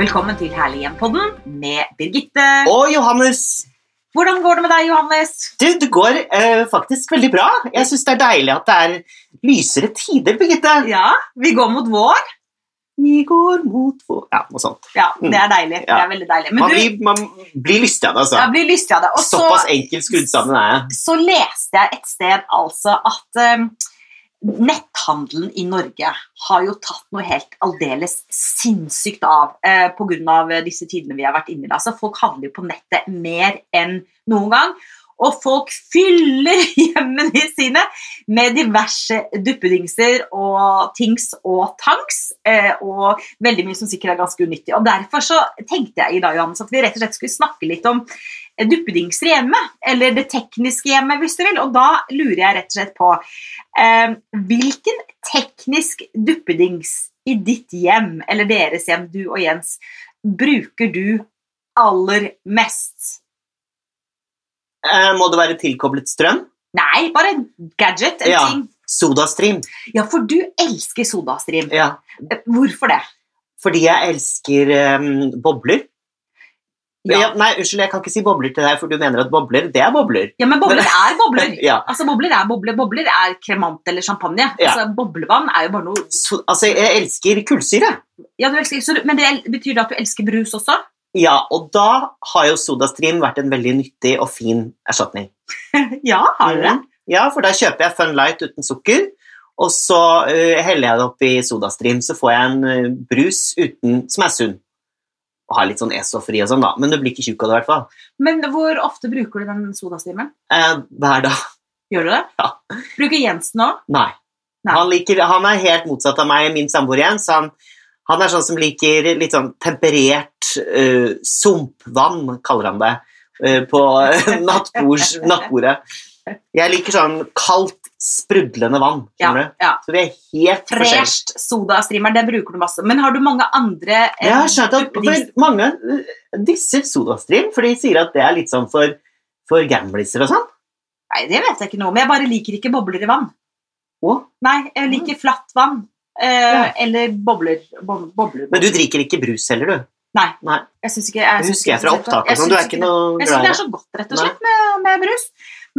Velkommen til Herlig hjem-podden med Birgitte. Og Johannes. Hvordan går det med deg, Johannes? Du, det går eh, faktisk veldig bra. Jeg syns det er deilig at det er lysere tider, Birgitte. Ja, vi går mot vår. Vi går mot vår Ja, noe sånt. Ja, det er deilig. Det er veldig deilig. Man Men du, blir, man blir lystig av det, altså. jeg blir lystig av det. Og så, Såpass enkelt skrudd sammen er jeg. så leste jeg et sted altså at eh, netthandelen i Norge har jo tatt noe helt aldeles sinnssykt av eh, pga. disse tidene vi har vært inne i. Altså, folk handler jo på nettet mer enn noen gang. Og folk fyller hjemmene sine med diverse duppedingser og tings og tanks. Eh, og veldig mye som sikkert er ganske unyttig. Og Derfor så tenkte jeg i dag, Johannes, at vi rett og slett skulle snakke litt om eh, duppedingser i hjemmet. Eller det tekniske hjemmet, hvis du vil. Og da lurer jeg rett og slett på eh, Hvilken teknisk duppedings i ditt hjem, eller deres hjem, du og Jens, bruker du aller mest? Eh, må det være tilkoblet strøm? Nei, bare en gadget, en Ja. ting. Sodastream. Ja, for du elsker sodastream. Ja. Eh, Hvorfor det? Fordi jeg elsker eh, bobler. Ja. Ja, nei, unnskyld, jeg kan ikke si bobler til deg, for du mener at bobler, det er bobler. Ja, men bobler er bobler. Ja. Altså, bobler er bobler. Bobler er kremant eller champagne. Ja. Altså, boblevann er jo bare noe So, altså, jeg elsker kullsyre. Ja, du elsker, så, du- Men det el- betyr det at du elsker brus også? Ja, og da har jo Sodastream vært en veldig nyttig og fin erstatning. ja, har du det? Mm. Ja, for da kjøper jeg Fun Light uten sukker, og så eh, heller jeg det opp i Sodastream, så får jeg en eh, brus uten, som er sunn. Og har litt sånn E-stofferi og sånn, da, men du blir ikke tjukk av det i hvert fall. Men hvor ofte bruker du den sodastreamen? Eh, hver dag. Gjør du det? Ja. Bruker Jensen òg? Nei. Nei. Han, liker, han er helt motsatt av meg, min samboer Jens. Han, han er sånn som liker litt sånn temperert eh, sumpvann, kaller han det, eh, på nattbords, nattbordet. Jeg liker sånn kaldt, sprudlende vann, skjønner du? ja. Så vi er helt forskjellige. Fresht sodastreamer, det bruker du masse. Men har du mange andre eh, Jeg har skjønt at duppedings- for mange eh, disser Sodastream, for de sier at det er litt sånn for, for gambliser og sånn. Nei, det vet jeg ikke noe om. Jeg bare liker ikke bobler i vann. Å? Nei, jeg liker flatt vann. Eh, Mm. Ja. Eller bobler. Bo bobler. Men du drikker ikke brus heller, du. Jeg syns ikke jeg Det syns husker jeg ikke fra det så godt. opptaket. Jeg Sånn. Du er syns ikke noe Jeg syns glad i det det. er så godt, rett og slett, med, med brus.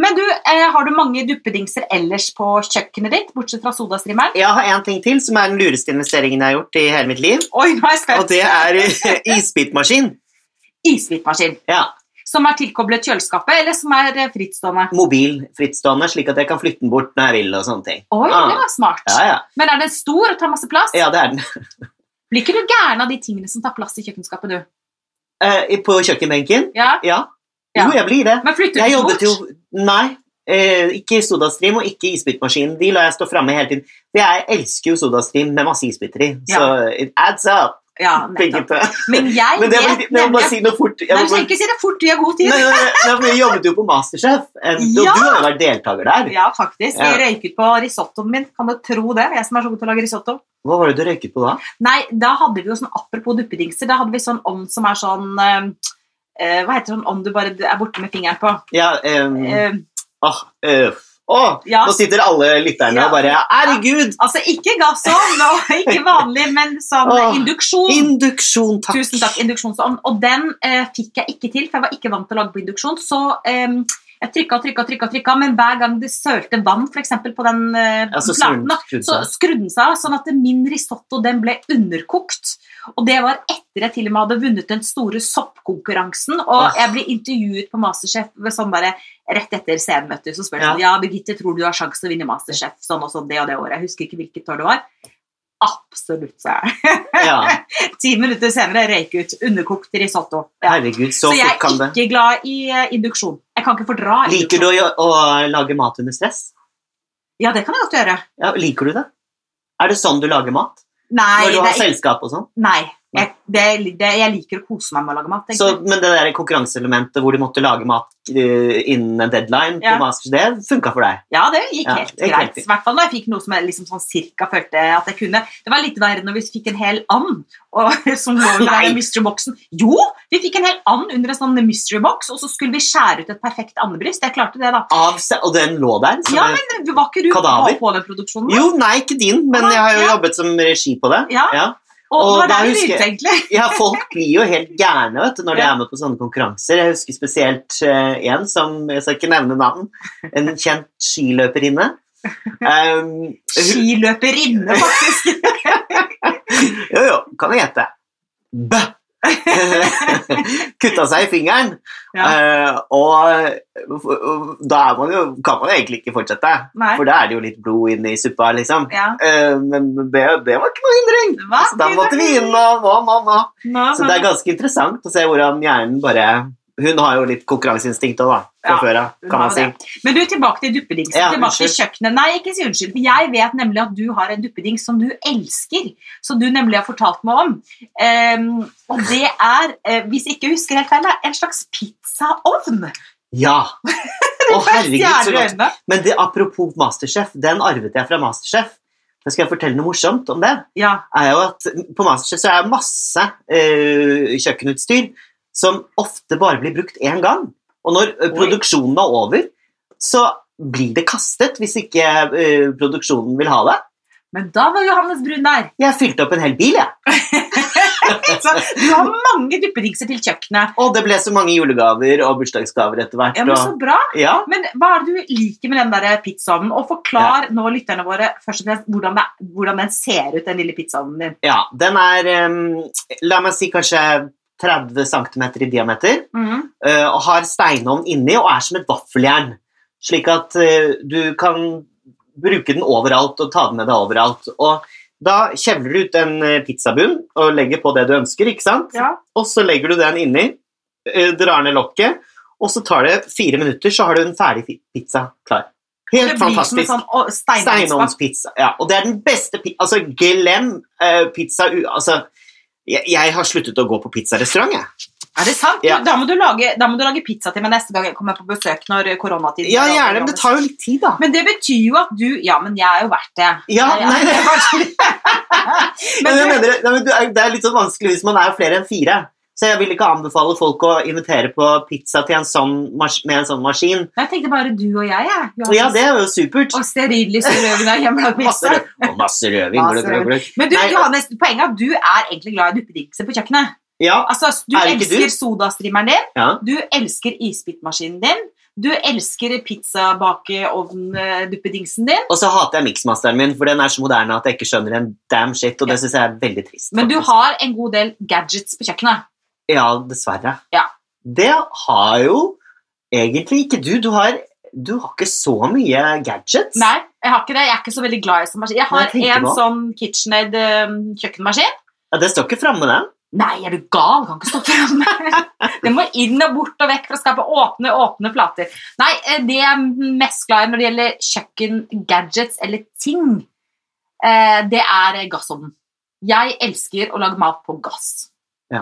Men du, eh, har du mange duppedingser ellers på kjøkkenet ditt, bortsett fra sodastreameren? Jeg har en ting til som er den lureste investeringen jeg har gjort i hele mitt liv, Oi, nå er jeg og spent. det er isbitmaskin. Isbitmaskin. Ja, Som er tilkoblet kjøleskapet, eller som er eh, frittstående? mobil frittstående, slik at jeg kan flytte den bort når jeg vil og sånne ting. Oi, Ah. det var smart. Ja, ja. Men er den stor og tar masse plass? ja det er den. Blir ikke du gæren av de tingene som tar plass i kjøkkenskapet, du? Eh, på kjøkkenbenken? Ja? Ja. Ja. Jo, jeg blir det. Men flytter du Jeg ikke bort? jobbet jo Nei. eh, ikke Sodastream og ikke isbitmaskin. De lar jeg stå framme hele tiden. For Jeg elsker jo Sodastream med masse isbiter i, så it adds up. Ja, nettopp. Birgitte. Men jeg Men det var, vet jeg må bare nemlig si noe fort. Jeg Nei, må du trenger bare, ikke si det fort, du har god nei, tid. nei, nei, nei, for jeg jobbet jo på Masterchef, eh, og Ja. du har jo vært deltaker der. Ja, faktisk. Jeg Ja. røyket på risottoen min. Kan du tro det? Jeg som er så god til å lage risotto. Hva var det du røyket på da? Nei, da hadde vi jo sånn apropos duppedingser, da hadde vi sånn ovn som er sånn eh, eh, Hva heter sånn ovn du bare er borte med fingeren på? Ja, um, Eh, åh, øh, åh, Ja. Nå sitter alle lytterne Ja. og bare Herregud! altså ikke gassovn, og ikke vanlig, men sånn Åh, induksjon. Induksjon, takk! Tusen takk, induksjonsovn. Og den eh, fikk jeg ikke til, for jeg var ikke vant til å lage på induksjon. Så eh, jeg trykka og trykka, trykka, trykka, men hver gang det sølte vann for eksempel, på den eh, Ja, så platen, da, skrudde- så skrudde. skrudde den seg av, sånn at min risotto den ble underkokt. Og det var etter jeg til og med hadde vunnet den store soppkonkurransen. Og Åh. jeg ble intervjuet på Masterchef ved sånn bare, rett etter scenemøtet. Så spør de Ja. sånn, ja, Birgitte, tror du du har sjanse til å vinne Masterchef sånn og sånn det og det året? Jeg husker ikke hvilket år det var. Absolutt, sa jeg. Ja, Ti minutter senere røyk ut underkokt risotto. Ja. herregud, så, Så jeg fort kan er det. ikke glad i eh, induksjon. Jeg kan ikke fordra Liker du å, gjø- å lage mat under stress? Ja, det kan jeg godt gjøre. Ja, liker du det? Er det sånn du lager mat? Nei, Når du det har er ikke, selskap og sånn? nei. Jeg, det, det, jeg liker å kose meg med å lage mat. Så, egentlig. men det der konkurranseelementet hvor du måtte lage mat eh, innen en deadline, Ja. på Masters, det funka for deg? Ja, det gikk Ja, helt det gikk greit. riktig. I hvert fall da jeg fikk noe som jeg liksom sånn cirka følte at jeg kunne. Det var litt verre når vi fikk en hel and og, som lå i Nei. den mystery-boksen. Jo, vi fikk en hel and under en sånn mystery-boks, og så skulle vi skjære ut et perfekt andebryst. Jeg klarte det, da. Av se- og den lå der? så Ja, det- men Var ikke du på, Kadaver? på den produksjonen? da? jo, nei, ikke din, men Nei, jeg har jo ja. jobbet som regi på det. Ja. Og, Og det var da der vi husker jeg- begynte, egentlig. Ja, folk blir jo helt gærne vet, du, når de Ja. er med på sånne konkurranser. Jeg husker spesielt eh, en som Jeg skal ikke nevne navn. En kjent skiløperinne. Um, hun- Skiløperinne, faktisk. jo, jo, kan du gjette. Bø! Kutta seg i fingeren. Ja. Eh, og, og da er man jo, kan man jo egentlig ikke fortsette, Nei. for da er det jo litt blod inne i suppa, liksom. Ja. Eh, men det, det var ikke noe hindring. Hva? Så altså, da måtte vi inn og, og, og, og. Nå, Så det er ganske interessant å se hvordan hjernen bare Hun har jo litt konkurranseinstinkt òg, da. Fra Ja, før av, hun kan man har si. Men du, tilbake til duppedingsen. Ja, tilbake til unnskyld. kjøkkenet. Nei, ikke si unnskyld. For jeg vet nemlig at du har en duppeding som du elsker. Som du nemlig har fortalt meg om. Ehm, og det er, eh, hvis jeg ikke husker helt feil, da, en slags pizzaovn. Ja! Å, herregud, så Stjerner i godt. øynene. Men det, apropos Masterchef, den arvet jeg fra Masterchef. Da skal jeg fortelle noe morsomt om det. Ja. er jo at På Masterchef så er det masse eh, kjøkkenutstyr som ofte bare blir brukt én gang. Og når eh, Oi. produksjonen er over, så blir det kastet hvis ikke eh, produksjonen vil ha det. Men da var Johannes Brun der. Jeg fylte opp en hel bil, jeg. Så du har mange duppedingser til kjøkkenet. Og det ble så mange julegaver og bursdagsgaver etter hvert. Ja, men og, Så bra. ja. Men hva er det du liker med den der pizzaovnen? Og forklar nå lytterne våre først og fremst hvordan, det, hvordan den ser ut, den lille pizzaovnen din. ja, den er em, La meg si kanskje 30 cm i diameter. Mhm. eh, og har steinovn inni og er som et vaffeljern. Slik at eh, du kan bruke den overalt og ta den med deg overalt. Og da kjevler du ut en eh, pizzabunn og legger på det du ønsker, ikke sant? Ja. Og så legger du den inni, eh, drar ned lokket, og så tar det fire minutter, så har du en ferdig fi- pizza klar. Det Helt blir som en fantastisk. sånn å, steinovnsbakt. Steinovnspizza. Ja, og det er den beste pizza Altså, glem eh, pizza u... Altså, jeg, jeg har sluttet å gå på pizzarestaurant, jeg. Er det sant? Ja. Da, må du lage, da må du lage pizza til meg neste gang jeg kommer på besøk når koronatiden er Ja, over, gjerne, men det Johannes. tar jo litt tid, da. Men det betyr jo at du Ja, men jeg er jo verdt det. Ja, Jeg er- nei, det Men Men jeg du, mener, nei, men du er- det er litt sånn vanskelig hvis man er flere enn fire. Så jeg vil ikke anbefale folk å invitere på pizza til en sånn mas med en sånn maskin. jeg tenkte bare du og jeg, jeg. Og ja, det er jo supert. Og stearinlys i røven av hjemmelagd Masse, pizza. rød, og masse rødvin. Masse gløgg, gløgg, gløgg. Men du, Nei, Johannes, poenget er at du er egentlig glad i duppedingser på kjøkkenet. Ja, Altså, du Er ikke du? elsker sodastrimmeren din, ja. du elsker isbitmaskinen din, du elsker pizzabakeovn-duppedingsen din, Og så hater jeg miksmasteren min, for den er så moderne at jeg ikke skjønner en damn shit, og det syns jeg er veldig trist. men du faktisk. har en god del gadgets på kjøkkenet. Ja, dessverre. Ja. Det har jo egentlig ikke du. Du har, du har ikke så mye gadgets. Nei, jeg har ikke det. Jeg er ikke så veldig glad i sånn maskin. Jeg Nei, jeg har tenkte en på. sånn KitchenAid eh, kjøkkenmaskin. Ja, det står ikke framme, den. Nei, er du gal? Kan ikke stå fremme. Den må inn og bort og vekk for å skape åpne, åpne flater. Nei, eh, det jeg er mest glad i når det gjelder kjøkkengadgets eller ting, eh, det er eh, gassovnen. Jeg elsker å lage mat på gass. Ja.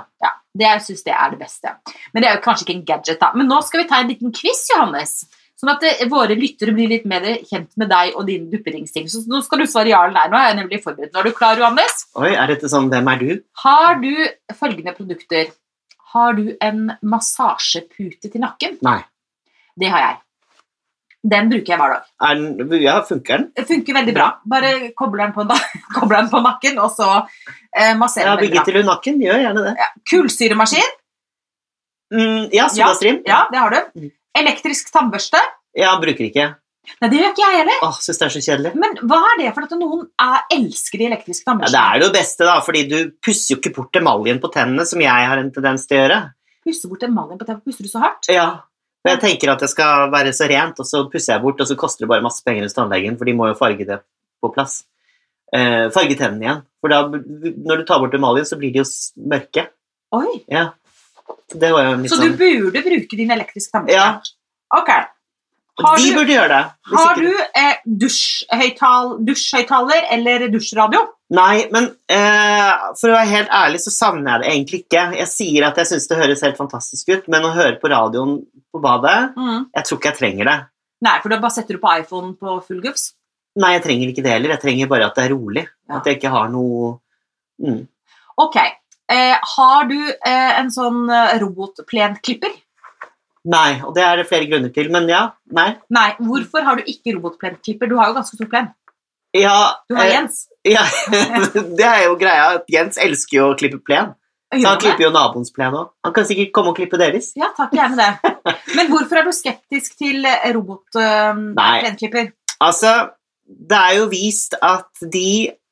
det jeg synes det er det beste. Men det er jo kanskje ikke en gadget, da. Men nå skal vi ta en liten quiz, Johannes. Sånn at eh, våre lyttere blir litt mer kjent med deg og dine duppedingsting. Så nå skal du svare ja eller nei. Nå er jeg nemlig forberedt. Er du klar, Johannes? Oi, er dette sånn Hvem er du? Har du følgende produkter? Har du en massasjepute til nakken? Nei. Det har jeg. Den bruker jeg hver dag. Er den, ja, funker den? Det funker veldig bra. Bare kobler den på, na- kobler den på nakken, og så eh, Ja, masserer den veldig bra. Birgitte Lund Nakken gjør gjerne det. Kullsyremaskin, Mm, ja, Sodastream. Ja. ja, det har du. Mm. Elektrisk tannbørste. bruker ikke. Nei, det gjør ikke jeg heller. Åh, Syns det er så kjedelig. Men hva er det for at noen er, elsker de elektriske Ja, tannbørstene? det er jo det beste, da, fordi du pusser jo ikke bort emaljen på tennene, som jeg har en tendens til å gjøre. Pusse bort emaljen på TV, puster du så hardt? Ja. Og jeg tenker at det skal være så rent, og så pusser jeg bort, og så koster det bare masse penger hos tannlegen, for de må jo farge det på plass. Eh, farge tennene igjen. For da, når du tar bort emaljen, så blir de jo s- mørke. Oi, Det var jo litt så du sånn... burde bruke din elektriske tannbørste? Ja. Ok. Har De du- burde gjøre det. hvis Har ikke- du eh, dusjhøytal, dusjhøyttaler eller dusjradio? Nei, men eh, for å være helt ærlig så savner jeg det egentlig ikke. Jeg sier at jeg syns det høres helt fantastisk ut, men å høre på radioen på badet Jeg tror ikke jeg trenger det. Nei, for da bare setter du på iPhone på full gufs. Nei, jeg trenger ikke det heller. Jeg trenger bare at det er rolig. Ja. At jeg ikke har noe mm. Ok. Eh, har du eh, en sånn eh, robotplenklipper? Nei, og det er det flere grunner til, men ja. Nei. Nei, hvorfor har du ikke robotplenklipper? Du har jo ganske stor plen. Ja, Du har eh, Jens. Ja, det er jo greia at Jens elsker jo å klippe plen. Så han klipper jo naboens plen òg. Han kan sikkert komme og klippe deres. Ja, takk, jeg er med det. Men hvorfor er du skeptisk til eh, Nei. robotplenklipper? Altså, det er jo vist at de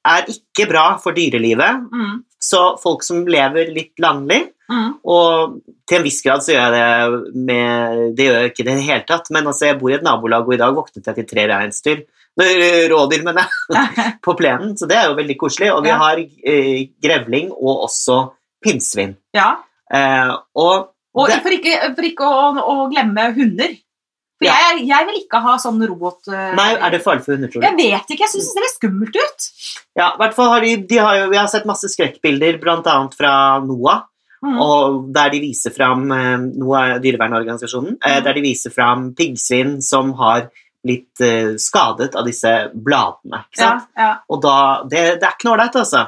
er ikke bra for dyrelivet, Mm, så folk som lever litt landlig mm, Og til en viss grad så gjør jeg det med Det gjør jeg ikke i det hele tatt, men altså, jeg bor i et nabolag, og i dag våknet jeg til tre reinsdyr. Nei, Rådyr, mener jeg. På plenen. Så det er jo veldig koselig. Og vi Ja. har eh, grevling og også pinnsvin. ja. Eh, og Og Det- for ikke, for ikke å, å glemme hunder. For Ja. jeg, jeg vil ikke ha sånn robot... eh, Nei, er det farlig for hunder, tror du? Jeg vet ikke, jeg syns det ser skummelt ut. Ja, i hvert fall har de, de har jo, Vi har sett masse skrekkbilder, bl.a. fra NOAH, Mm. og der de viser fram eh, NOAH, er dyrevernorganisasjonen, eh, Mm. der de viser fram piggsvin som har blitt eh, skadet av disse bladene. ikke ja, sant? ja. Og da, det, det er ikke noe ålreit, altså.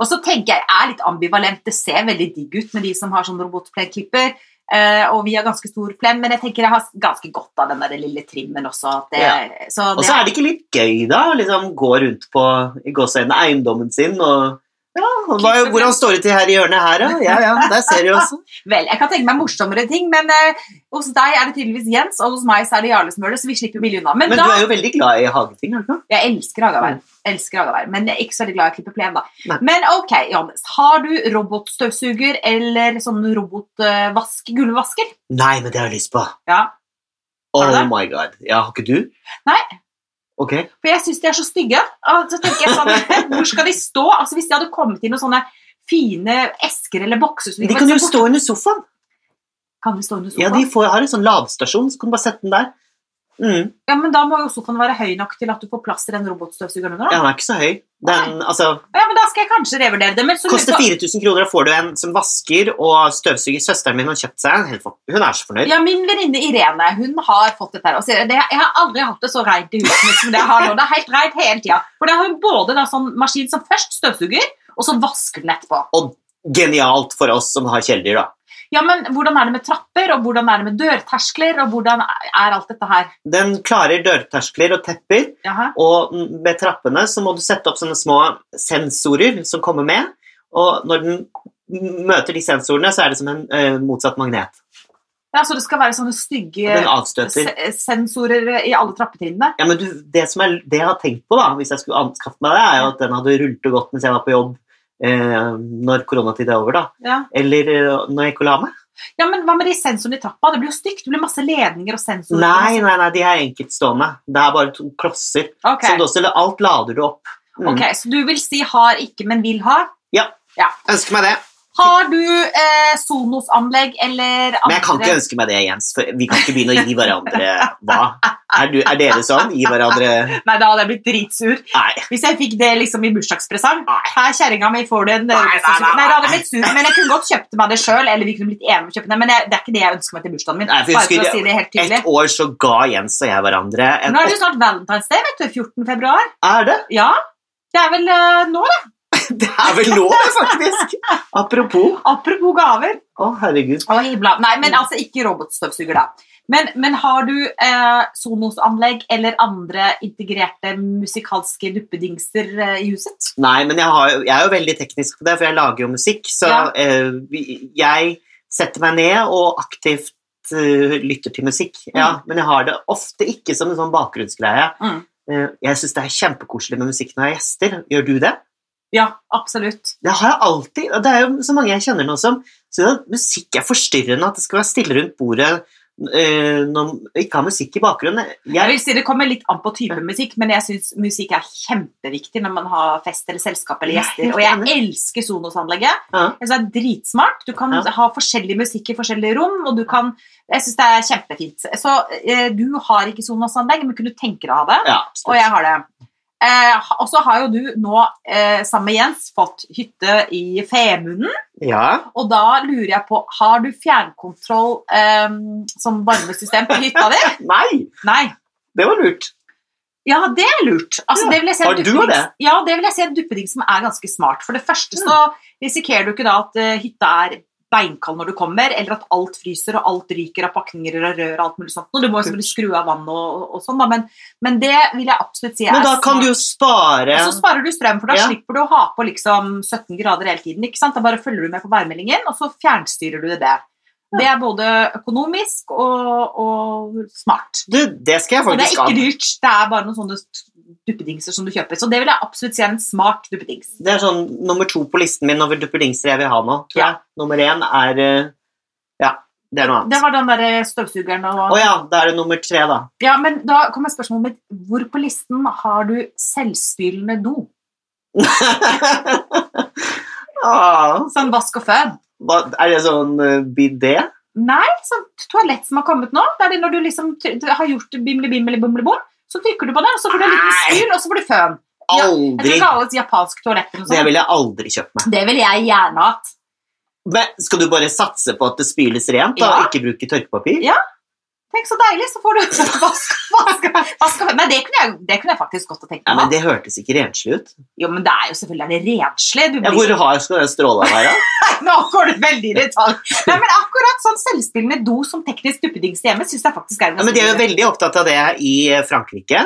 Og så tenker jeg, jeg er litt ambivalent. Det ser veldig digg ut med de som har sånn robotplenklipper. eh, og vi har ganske stor plen, men jeg tenker jeg har ganske godt av den der lille trimmen også. At det, Så Og det, så er det ikke litt gøy, da, å liksom gå rundt på i gåseøynene eiendommen sin og ja, og hva, Klipp så Hvordan står det til her i hjørnet her, da? Ja, ja, der ser du altså. også. vel, jeg kan tenke meg morsommere ting, men eh, hos deg er det tydeligvis Jens, og hos meg så er det Jarle som gjør det, så vi slipper billig unna. Men, Men du da, er jo veldig glad i hageting, er du ikke? Jeg elsker hagearbeid, elsker hagearbeid, men jeg er ikke så veldig glad i å klippe plen, da. Nei. Men ok, Johannes, har du robotstøvsuger eller sånn robotvask, gulvvasker? Nei, men det har jeg lyst på. Ja, Har du Oh det? my god. Ja, har ikke du? Nei. Ok. For jeg syns de er så stygge. Og så tenker jeg sånn, Hvor skal de stå? Altså Hvis de hadde kommet inn med sånne fine esker eller bokser som De bare kan jo så- stå under sofaen. Kan de stå under sofaen? Ja, Ja, de får, har en sånn ladestasjon, så kan du bare sette den der. Mm. Men da må jo sofaen være høy nok til at du får plass til den robotstøvsugeren under. Ja, da. den er ikke så høy. Den, altså, Ja. men da skal jeg kanskje revurdere det. Men så koster lurer jeg 4000 kroner, og får du en som vasker og støvsuger. Søsteren min har kjøpt seg en. Helt for- Hun er så på- fornøyd. ja, Min venninne Irene hun har fått dette. her, og sier det, Jeg har aldri hatt det så rent i huset mitt som det jeg har nå. Det er helt rent hele tida. For da har hun både da, sånn maskin som først støvsuger, og så vasker den etterpå. Genialt for oss som har kjæledyr, da. Ja, Men hvordan er det med trapper, og hvordan er det med dørterskler, og hvordan er alt dette her? Den klarer dørterskler og tepper, Jaha. og med trappene så må du sette opp sånne små sensorer som kommer med, og når den m- møter de sensorene, så er det som en eh, motsatt magnet. Ja, Så det skal være sånne stygge Den avstøter. se- sensorer i alle trappetrinnene? Ja, men du, det, som er, det jeg har tenkt på, da, hvis jeg skulle anskaffe meg det, er jo at den hadde rullet og gått mens jeg var på jobb eh, når koronatiden er over, da. Ja. Eller eh, når jeg ikke la meg. ja, men hva med de sensorene i trappa? Det blir jo stygt. Det blir masse ledninger og sensorer. Nei, nei, nei, de er enkeltstående. Det er bare to klosser. Ok, Som du også, alt lader du opp. Mm. ok, Så du vil si har ikke, men vil ha? Ønsker meg det. Har du eh, Sonos-anlegg eller andre Men jeg kan ikke ønske meg det, Jens. For vi kan ikke begynne å gi hverandre hva. Er, du, er dere sånn? Gi hverandre Nei, da hadde jeg blitt dritsur. Nei. Hvis jeg fikk det liksom i bursdagspresang Nei. Her, kjerringa mi, får du en Nei, nei, nei, nei. Nei, da hadde jeg blitt sur, men jeg kunne godt kjøpt meg det sjøl. Eller vi kunne blitt enige om å kjøpe det, men jeg, det er ikke det jeg ønsker meg til bursdagen min. Nei, for jeg bare for husker- å si det helt tydelig. Et år så ga Jens og jeg hverandre en Nå er det jo snart Valentine's Day, vet du. 14. februar. Er det? Ja, det er vel eh, nå, da. Det er vel lov, det, faktisk! Apropos. Apropos gaver. Å, herregud. Å, himla. Nei, men altså ikke robotstøvsuger, da. Men, men har du eh, Sonos-anlegg eller andre integrerte musikalske duppedingser eh, i huset? Nei, men jeg, har, jo- jeg er jo veldig teknisk på det, for jeg lager jo musikk. Så Ja. eh, vi- jeg setter meg ned og aktivt eh, lytter til musikk. Ja, Men jeg har det ofte ikke som en sånn bakgrunnsgreie. Mm. Eh, jeg syns det er kjempekoselig med musikk når jeg har gjester. Gjør du det? Ja, absolutt. Det har jeg alltid. og Det er jo så mange jeg kjenner nå som syns at musikk er forstyrrende, at det skal være stille rundt bordet eh, når man ikke har musikk i bakgrunnen. Jeg Jeg, vil si Det kommer litt an på type musikk, men jeg syns musikk er kjempeviktig når man har fest eller selskap eller Jeg er gjester. helt Og jeg enig. elsker Sonos-anlegget. Ja. Jeg synes det er dritsmart. Du kan Ja. ha forskjellig musikk i forskjellige rom, og du kan Jeg syns det er kjempefint. Så eh, du har ikke Sonos-anlegg, men kunne tenke deg å ha det. ja, Og jeg har det. Eh, ha- og så har jo du nå, eh, sammen med Jens, fått hytte i Femunden. ja. Og da lurer jeg på, har du fjernkontroll eh, som varmesystem på hytta di? Nei! Nei. Det var lurt. Ja, det er lurt. Altså, Ja. det vil jeg si er Har en du duppedings- det? Mm. Ja, det vil jeg si er en duppeding som er ganske smart. For det første så risikerer du ikke da at eh, hytta er beinkald når du kommer, eller at alt fryser og alt ryker av pakninger og rør og alt mulig sånt. Og du må jo selvfølgelig skru av vann og, og sånn, da, men, men det vil jeg absolutt si er Men da kan du jo spare Og så sparer du strøm, for da Ja. slipper du å ha på liksom 17 grader hele tiden. ikke sant? Da bare følger du med på værmeldingen, og så fjernstyrer du det. Det er både økonomisk og, og smart. Du, det skal jeg Og det er faktisk ha. ikke dyrt, det er bare noen sånne duppedingser som du kjøper. Så det vil jeg absolutt si er en smart duppedings. Det er sånn nummer to på listen min over duppedingser jeg vil ha nå. Tror jeg. Nummer én er eh, Ja, det er noe annet. Det var den derre støvsugeren og Å ja, da er det nummer tre, da. Ja, men da kommer spørsmålet mitt. Hvor på listen har du selvspylende do? ah, Sånn vask og føn? hva, er det sånn eh, bidé? Nei, sånt toalett som har kommet nå. Det er det når du liksom t- t- har gjort bimli, bimli, bimli, bom, så trykker du på det, og så får du en liten Nei. spyl, og så får du føn. Ja, Jeg tror Aldri! det kalles japansk toalett eller Det noe sånt. ville jeg aldri kjøpt meg. Det ville jeg gjerne hatt. Men skal du bare satse på at det spyles rent, da? Ja. Ikke bruke tørkepapir? Ja. Tenk så deilig, så får du vask, vask, vask og føn. Nei, det kunne, jeg, det kunne jeg faktisk godt ha tenkt meg. Ja, men da. Det hørtes ikke renslig ut. Jo, men det er jo selvfølgelig er det renslig. Du Ja, blir hvor hard skal den stråla være? Nå går du veldig i detalj. Nei, men akkurat sånn selvspillende do som teknisk duppedings hjemme syns jeg faktisk er en Ja, men De er jo god idé. veldig opptatt av det i eh, Frankrike,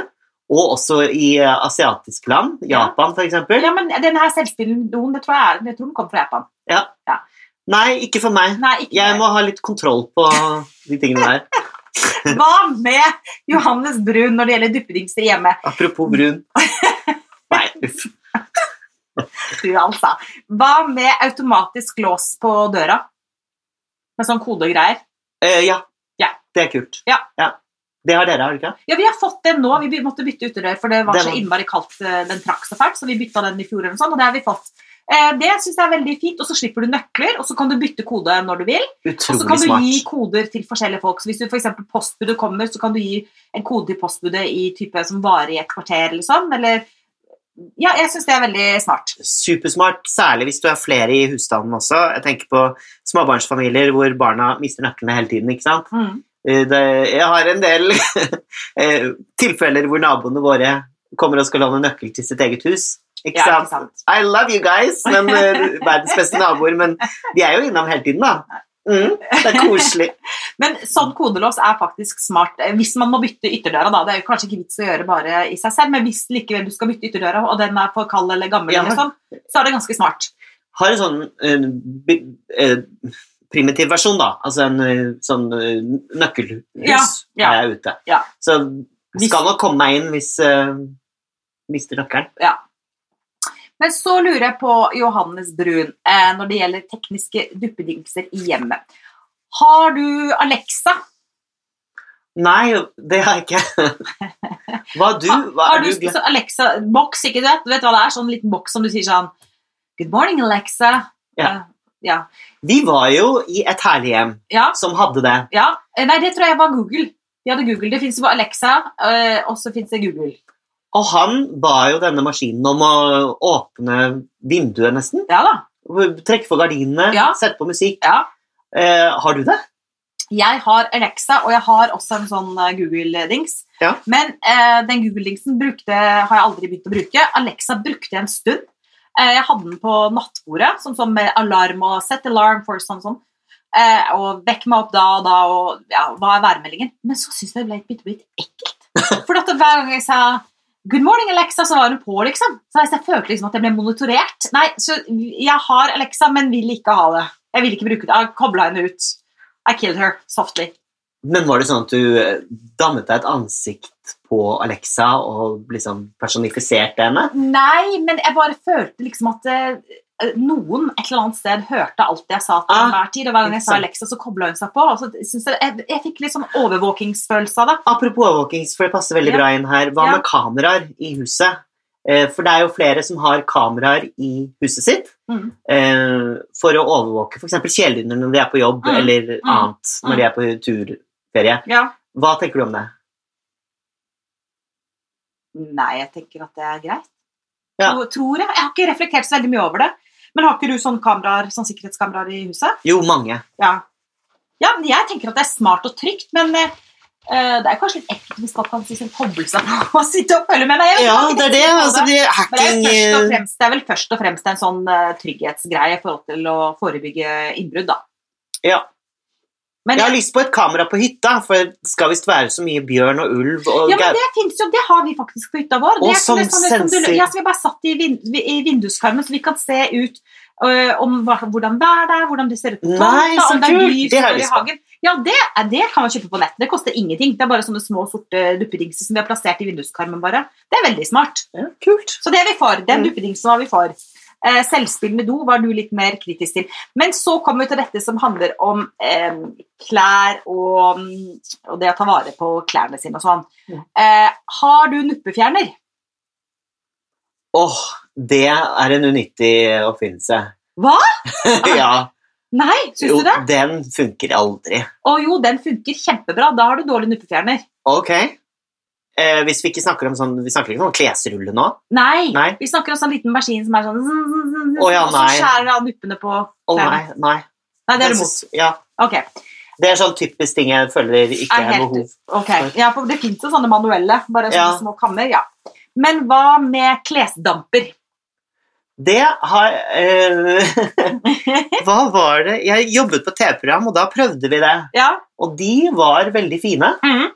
og også i eh, asiatiske land. Ja. Japan, for eksempel. ja, men den her selvspillende doen, det tror jeg, er, jeg tror den kommer fra Japan. Nei, ikke for meg. Nei, ikke Jeg må ha litt kontroll på de tingene der. Hva med Johannes Brun når det gjelder duppedingser hjemme? Apropos brun. Nei, Eh, uff. Du, altså. Hva med automatisk lås på døra? Med sånn kode og greier. Eh, ja. Ja. det er kult. Ja. Det har dere, har dere ikke? Ja, vi har fått den nå. Vi by- måtte bytte utedør, for det var Det så var- innmari kaldt. eh, Den trakk så fælt, så vi bytta den i fjor, eller noe sånt, og det har vi fått. Eh, Det syns jeg er veldig fint. Og så slipper du nøkler, og så kan du bytte kode når du vil. Og så Utrolig kan du gi smart. koder til forskjellige folk. Så hvis du for eksempel postbudet kommer, så kan du gi en kode til postbudet i type som varer i et kvarter eller sånn. Eller Ja, jeg syns det er veldig smart. Supersmart, særlig hvis du er flere i husstanden også. Jeg tenker på småbarnsfamilier hvor barna mister nøklene hele tiden. ikke sant? Mm. Eh, Det, jeg har en del eh, tilfeller hvor naboene våre kommer og skal låne nøkkel til sitt eget hus. Ikke Ja, ikke sant? sant? I love you guys, men eh, verdens beste naboer. Men de er jo innom hele tiden, da. Mm, det er koselig. Men sånn kodelås er faktisk smart. Eh, Hvis man må bytte ytterdøra, da. Det er jo kanskje ikke vits å gjøre bare i seg selv, men hvis likevel du skal bytte ytterdøra, og den er for kald eller gammel, Ja. eller sånn, så er det ganske smart. Har en sånn eh, bi- eh, primitiv versjon, da. Altså en eh, sånn eh, nøkkelhus Ja, ja. er jeg ute. Ja. Så Hvis- skal nok komme meg inn hvis eh, mister nøkkelen. Men så lurer jeg på Johannes Brun eh, når det gjelder tekniske duppedingser i hjemmet. Har du Alexa? Nei, det har jeg ikke. Hva du? Hva Har er du, du? så Alexa, boks, ikke du vet, du vet hva det er? Sånn liten boks som du sier sånn Good morning, Alexa. Ja. Eh, ja. Vi var jo i et herlig hjem Ja, som hadde det. ja. Eh, Nei, det tror jeg var Google. De hadde Google. Det fins jo bare Alexa, eh, og så fins det Google. Og han ba jo denne maskinen om å åpne vinduet, nesten. Ja da. Trekke for gardinene, Ja. sette på musikk. Ja. Eh, har du det? Jeg har Alexa, og jeg har også en sånn eh, Google-dings. Ja. Men eh, den Google-dingsen brukte- har jeg aldri begynt å bruke. Alexa brukte jeg en stund. Eh, jeg hadde den på nattbordet, sånn som med alarm og set alarm for sånn sånn. Eh, og vekk meg opp da og da, og ja, hva er værmeldingen? Men så syntes jeg det ble et bitte litt ekkelt. For at hver gang jeg sa Good morning, Alexa, så var hun på, liksom. Så jeg følte liksom at jeg ble monitorert. Nei, så jeg har Alexa, men vil ikke ha det. Jeg vil ikke bruke det. Jeg kobla henne ut. I killed her softly. Men var det sånn at du eh, dannet deg et ansikt på Alexa og liksom personifiserte henne? Nei, men jeg bare følte liksom at eh, noen et eller annet sted hørte alt jeg sa til Ah, enhver tid. Og hver gang jeg sa interessant. Alexa, så kobla hun seg på. Og så synes jeg, jeg, jeg fikk litt sånn overvåkingsfølelse av det. Apropos overvåkings, for det passer veldig Ja. bra inn her. Hva Ja. med kameraer i huset? Eh, For det er jo flere som har kameraer i huset sitt Mm. eh, for å overvåke f.eks. kjæledyrene når de er på jobb, Mm. eller annet Mm. når de er på turferie. Ja. Hva tenker du om det? Nei, jeg tenker at det er greit. Ja. Tror- Tror jeg. Jeg har ikke reflektert så veldig mye over det. Men har ikke du sånne kameraer, sånn sikkerhetskameraer i huset? Jo, mange. Ja. ja, men jeg tenker at det er smart og trygt, men eh, eh, det er kanskje litt ekkelt hvis man kan liksom koble seg på og sitte og følge med. Nei, jeg vet Ja, ikke det er det. tenkte på Altså, Men det det er er, hacking jo først og eh, fremst, det er vel først og fremst en sånn eh, trygghetsgreie i forhold til å forebygge innbrudd, da. Ja. Men Jeg har lyst på et kamera på hytta, for det skal visst være så mye bjørn og ulv og Ja, men gau- det finnes jo, det har vi faktisk på hytta vår. Og Det er som sånn, som du, sensor. ja, så vi bare satt i, vin, i vinduskarmen, så vi kan se ut øh, om hva, hvordan været er, hvordan det ser ut på Nei, tomta, så om det er kult! dyr Det som går har jeg i lyst på. hagen. Ja, det, er- det kan man kjøpe på nettet. Det koster ingenting. Det er bare sånne små sorte duppedingser som vi har plassert i vinduskarmen bare. Det er veldig smart. Ja, Kult. Så det er vi for. Den Mm. duppedingsen var vi for. Eh, Selvspillende do var du litt mer kritisk til. Men så kommer vi til dette som handler om eh, klær og, og det å ta vare på klærne sine og sånn. Mm. Eh, har du nuppefjerner? Åh, det er en unyttig oppfinnelse. Hva? ja. Nei, syns Jo, du det? den funker aldri. Å jo, den funker kjempebra. Da har du dårlig nuppefjerner. Ok. Eh, hvis vi ikke snakker om sånn Vi snakker ikke om klesrulle nå? Nei. Nei. Vi snakker om sånn liten maskin som er sånn Å ja, Og så nei. skjærer av nuppene på Å nei, klærne. nei. nei, det er du Jeg mot. synes- Ja. Ok. Det er sånn typisk ting jeg føler ikke Er er helt- behov. Ok, ja, for Det fins jo sånne manuelle, bare sånne Ja. små kammer. ja. Men hva med klesdamper? Det har eh, Hva var det Jeg jobbet på TV-program, og da prøvde vi det. Ja, Og de var veldig fine, Mhm.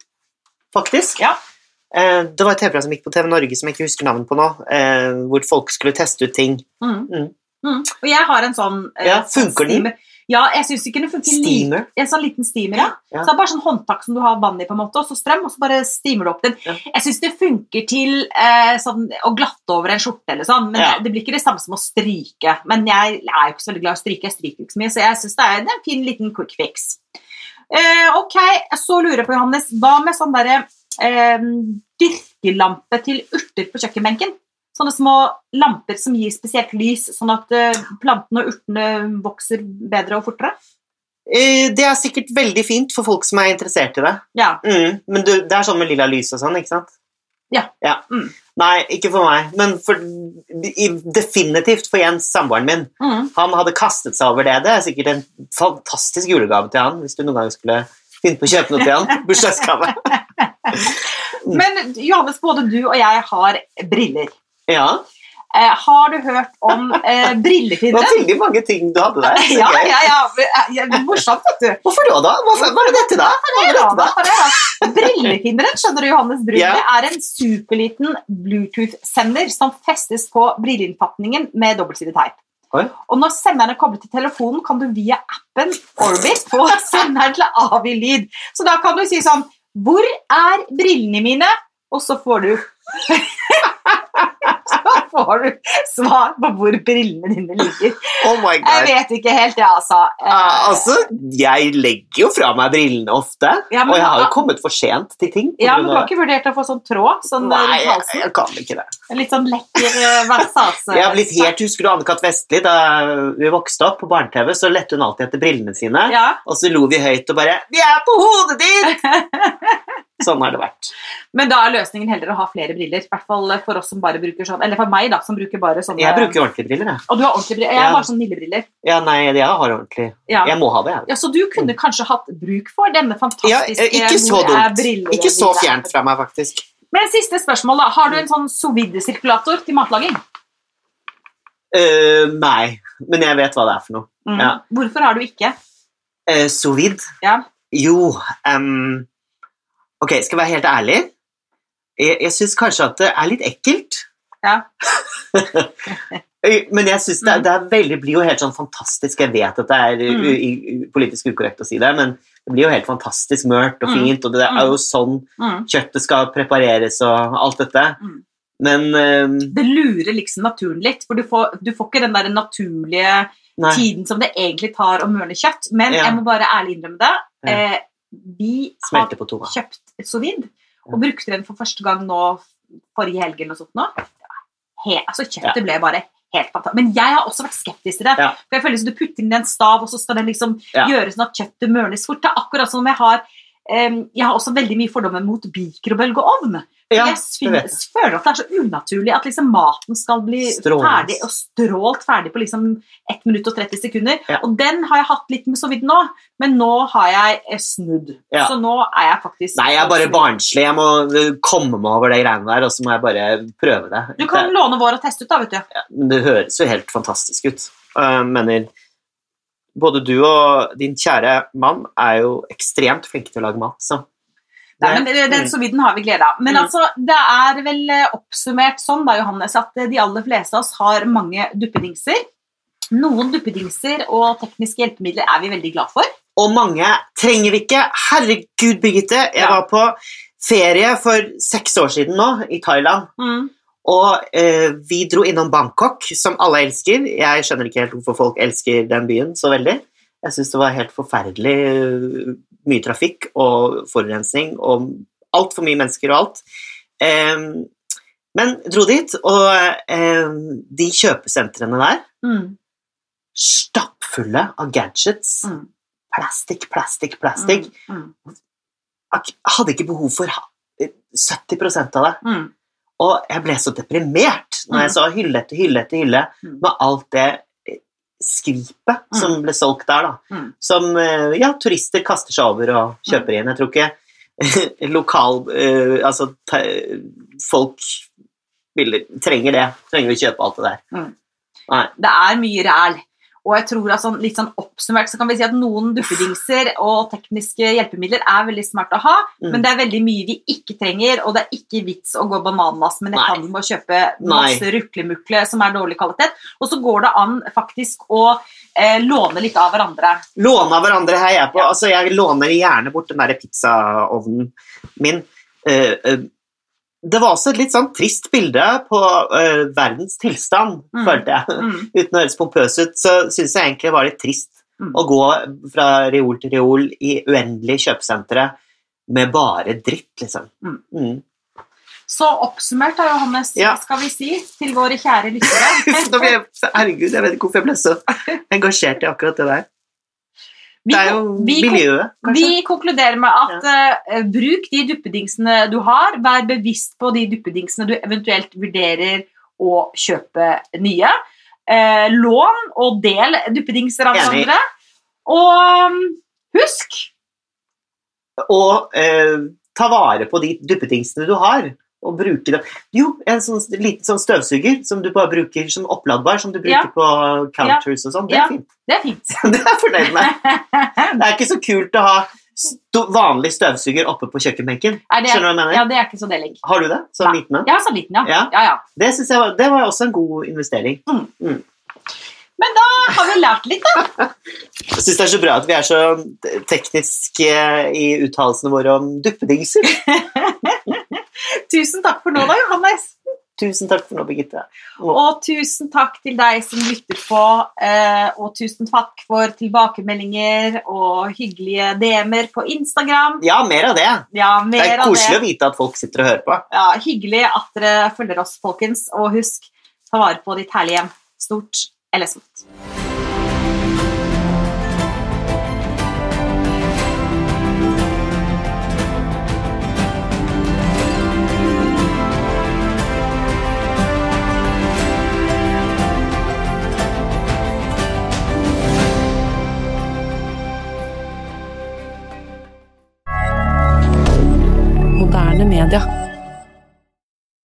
faktisk. Ja. Eh, det var et TV-program som gikk på TV Norge som jeg ikke husker navnet på nå, eh, hvor folk skulle teste ut ting. Mhm. Mhm. Mhm. Og jeg har en sånn eh, Ja, funker den? steamer. Ja, jeg syns ikke den funker like Steamer. En sånn liten steamer, ja. Ja. Så det er bare sånn håndtak som du har vann i, på en måte, og så strøm, og så bare steamer du opp den. Ja. Jeg syns det funker til eh, sånn, å glatte over en skjorte eller sånn, men Ja. det, det blir ikke det samme som å stryke. Men jeg er jo ikke så veldig glad i å stryke, jeg stryker ikke så mye, så jeg syns det, er- det er en fin liten quick fix. Eh, ok, så lurer jeg på, Johannes, hva med sånn derre eh, dyrkelampe til urter på kjøkkenbenken? Sånne små lamper som gir spesielt lys, sånn at eh, plantene og urtene vokser bedre og fortere? Eh, det er sikkert veldig fint for folk som er interessert i det. Ja. Mm, men du, det er sånn med lilla lys og sånn, ikke sant? Ja. Mm. Nei, ikke for meg, men for, i, definitivt for Jens, samboeren min. Mm. Han hadde kastet seg over det. Det er sikkert en fantastisk julegave til han, hvis du noen gang skulle finne på å kjøpe noe til han. Bursdagsgave. Men Johannes, både du og jeg har briller. Ja, Eh, har du hørt om eh, det var brillefinnen? veldig mange ting du hadde der. Så Ja, gøy. ja, ja. Eh, ja. det er Morsomt, vet du. Hvorfor da, da? Hvorfor var det dette, da? Hva var Det er det bra, dette, da, da? for det, da. Brillefinneren, skjønner du, Johannes Brun, Ja. det er en superliten Bluetooth-sender som festes på brilleinnfatningen med dobbeltsidig teip. Oi. Og når senderen er koblet til telefonen, kan du via appen Orbit få senderen til å avgi lyd. Så da kan du si sånn Hvor er brillene mine? Og så får du Så får du svar på hvor brillene dine ligger. Oh my Jeg god. vet ikke helt, jeg, altså. Ah, altså, jeg legger jo fra meg brillene ofte, Ja, men- og jeg har jo kommet for sent til ting. på Ja, men grunn du har av- ikke vurdert å få sånn tråd? Sånn Nei, rundt jeg, halsen? jeg kan ikke det. En litt sånn lekker eh, versase. Jeg har blitt helt, Husker du Anne-Kat. Vestli da vi vokste opp på barne-TV? Så lette hun alltid etter brillene sine, Ja. og så lo vi høyt og bare 'Vi er på hodet ditt!' Sånn har det vært. Men da er løsningen heller å ha flere briller. I hvert fall for oss som bare bruker sånn, eller for meg da, som bruker bare sånne. Jeg bruker jo ordentlige briller, jeg. Og du har ordentlige briller. Jeg har Ja. bare sånne lillebriller. Ja, nei, jeg har ordentlig Ja. Jeg må ha det, jeg. ja, så du kunne kanskje hatt bruk for denne fantastiske... Ja, eh, ikke så hvor er dumt. brillene Ikke så mine? fjernt fra meg, faktisk. Men siste spørsmål da. Har du en sånn sous-vide-sirkulator til matlaging? Eh, nei, men jeg vet hva det er for noe. Mm. Ja. Hvorfor har du ikke? Uh, sous vide? Ja. Jo ehm, Ok, skal jeg være helt ærlig? Jeg, jeg syns kanskje at det er litt ekkelt. Ja. Eh, Men jeg syns det, Mhm. det er veldig, blir jo helt sånn fantastisk Jeg vet at det er Mm. u, u, u, politisk ukorrekt å si det, men det blir jo helt fantastisk mørkt og Mhm. fint, og det er jo sånn Mm. kjøttet skal prepareres og alt dette. Mhm. Men ehm, Det lurer liksom naturen litt, for du får, du får ikke den der naturlige nei. tiden som det egentlig tar å møle kjøtt. Men Ja. jeg må bare ærlig innrømme det. Ja. Eh, vi har Smelter på tunga. kjøpt sous vide Ja. og brukte den for første gang nå forrige helg eller noe sånt. Nå. Det var He, altså kjøttet ble bare helt fantastisk. Men jeg har også vært skeptisk til det. Ja. For jeg føler som du putter inn i en stav, og så skal den liksom Ja. gjøre sånn at kjøttet mørnes fort. Det er akkurat som om jeg har em, jeg har også veldig mye fordommer mot mikrobølgeovn. Ja, jeg det vet jeg. synes, føler at det er så unaturlig at liksom maten skal bli Strålende. ferdig og strålt ferdig på liksom 1 minutt og 30 sekunder. Ja. Og den har jeg hatt litt med så vidt nå, men nå har jeg eh, snudd. Ja. Så nå er jeg faktisk Nei, jeg er bare barnslig. Jeg må eh, komme meg over de greiene der, og så må jeg bare prøve det. Du kan låne vår og teste ut, da, vet du. Det, det høres jo helt fantastisk ut. Eh, mener både du og din kjære mann er jo ekstremt flinke til å lage mat, så Nei, men det- Mm. Den så vidden har vi glede av. Men Mm. altså, det er vel eh, oppsummert sånn da, Johannes, at eh, de aller fleste av oss har mange duppedingser. Noen duppedingser og tekniske hjelpemidler er vi veldig glad for. Og mange trenger vi ikke. Herregud, Birgitte, jeg Ja. var på ferie for seks år siden nå, i Thailand. Og eh, vi dro innom Bangkok, som alle elsker. Jeg skjønner ikke helt hvorfor folk elsker den byen så veldig. Jeg syns det var helt forferdelig eh, mye trafikk og forurensning og altfor mye mennesker og alt. Em, men dro dit, og em, de kjøpesentrene der, Mm. stappfulle av gadgets. Mm. Plastikk, plastikk, plastikk. Mm. Ak- Hadde ikke behov for ha- 70 av det. Mm. Og jeg ble så deprimert når jeg Mm. så hylle etter hylle etter hylle Mm. med alt det eh, skvipet som ble solgt der, da. Mm. Som eh, ja, turister kaster seg over og kjøper inn. Jeg tror ikke lokal eh, Altså te, folk vil, trenger det. Trenger å kjøpe alt det der. Det er mye ræl. Og jeg tror at sånn, litt sånn oppsummert så kan vi si at noen duppedingser og tekniske hjelpemidler er veldig smart å ha, Mm. men det er veldig mye vi ikke trenger, og det er ikke vits å gå bananas med Nei. netthandel med å kjøpe Nei. masse ruklemukle som er dårlig kvalitet. Og så går det an faktisk å eh, låne litt av hverandre. Låne av hverandre her jeg er på. Altså, jeg låner gjerne bort den der pizzaovnen min. Eh, eh, det var også et litt sånn trist bilde på eh, verdens tilstand, Mm. følte jeg. Mm. uten å høres pompøs ut, så syns jeg egentlig det var litt trist Mm. å gå fra reol til reol i uendelige kjøpesentre med bare dritt, liksom. Mm. Mm. Så oppsummert da, Johannes, Ja. hva skal vi si til våre kjære lyttere? Nå ble jeg, så- herregud, jeg vet ikke hvorfor jeg ble så engasjert i akkurat det der. Vi Det er jo kon- vi kon- miljøet, kanskje. Vi konkluderer med at eh, bruk de duppedingsene du har. Vær bevisst på de duppedingsene du eventuelt vurderer å kjøpe nye. Eh, lån og del duppedingser av Enig. hverandre. Og mm, husk Og eh, ta vare på de duppetingsene du har. Og bruke dem. Jo, en sånn liten sånn støvsuger som du bare bruker som oppladbar, som du bruker Ja. på counters og sånn. Det er Ja. fint. Det er fint. Det er jeg fornøyd med. Det er ikke så kult å ha sto- vanlig støvsuger oppe på kjøkkenbenken. Er det, Skjønner du hva jeg mener? Ja, det er ikke så deling. Har du det? Så Nei. liten en? Ja, så liten, ja. Ja. Ja, ja. Det synes jeg var, det var også en god investering. Da har vi lært litt, da. Jeg syns det er så bra at vi er så tekniske i uttalelsene våre om duppedingser. Tusen takk for nå, da, Johannes. Tusen takk for nå, Birgitte. Og tusen takk til deg som lytter på, eh, og tusen takk for tilbakemeldinger og hyggelige DM-er på Instagram. Ja, mer av det. Ja, Det er mer av koselig det. å vite at folk sitter og hører på. Ja, hyggelig at dere følger oss, folkens. Og husk, ta vare på ditt herlige hjem, stort eller smått. Moderne media.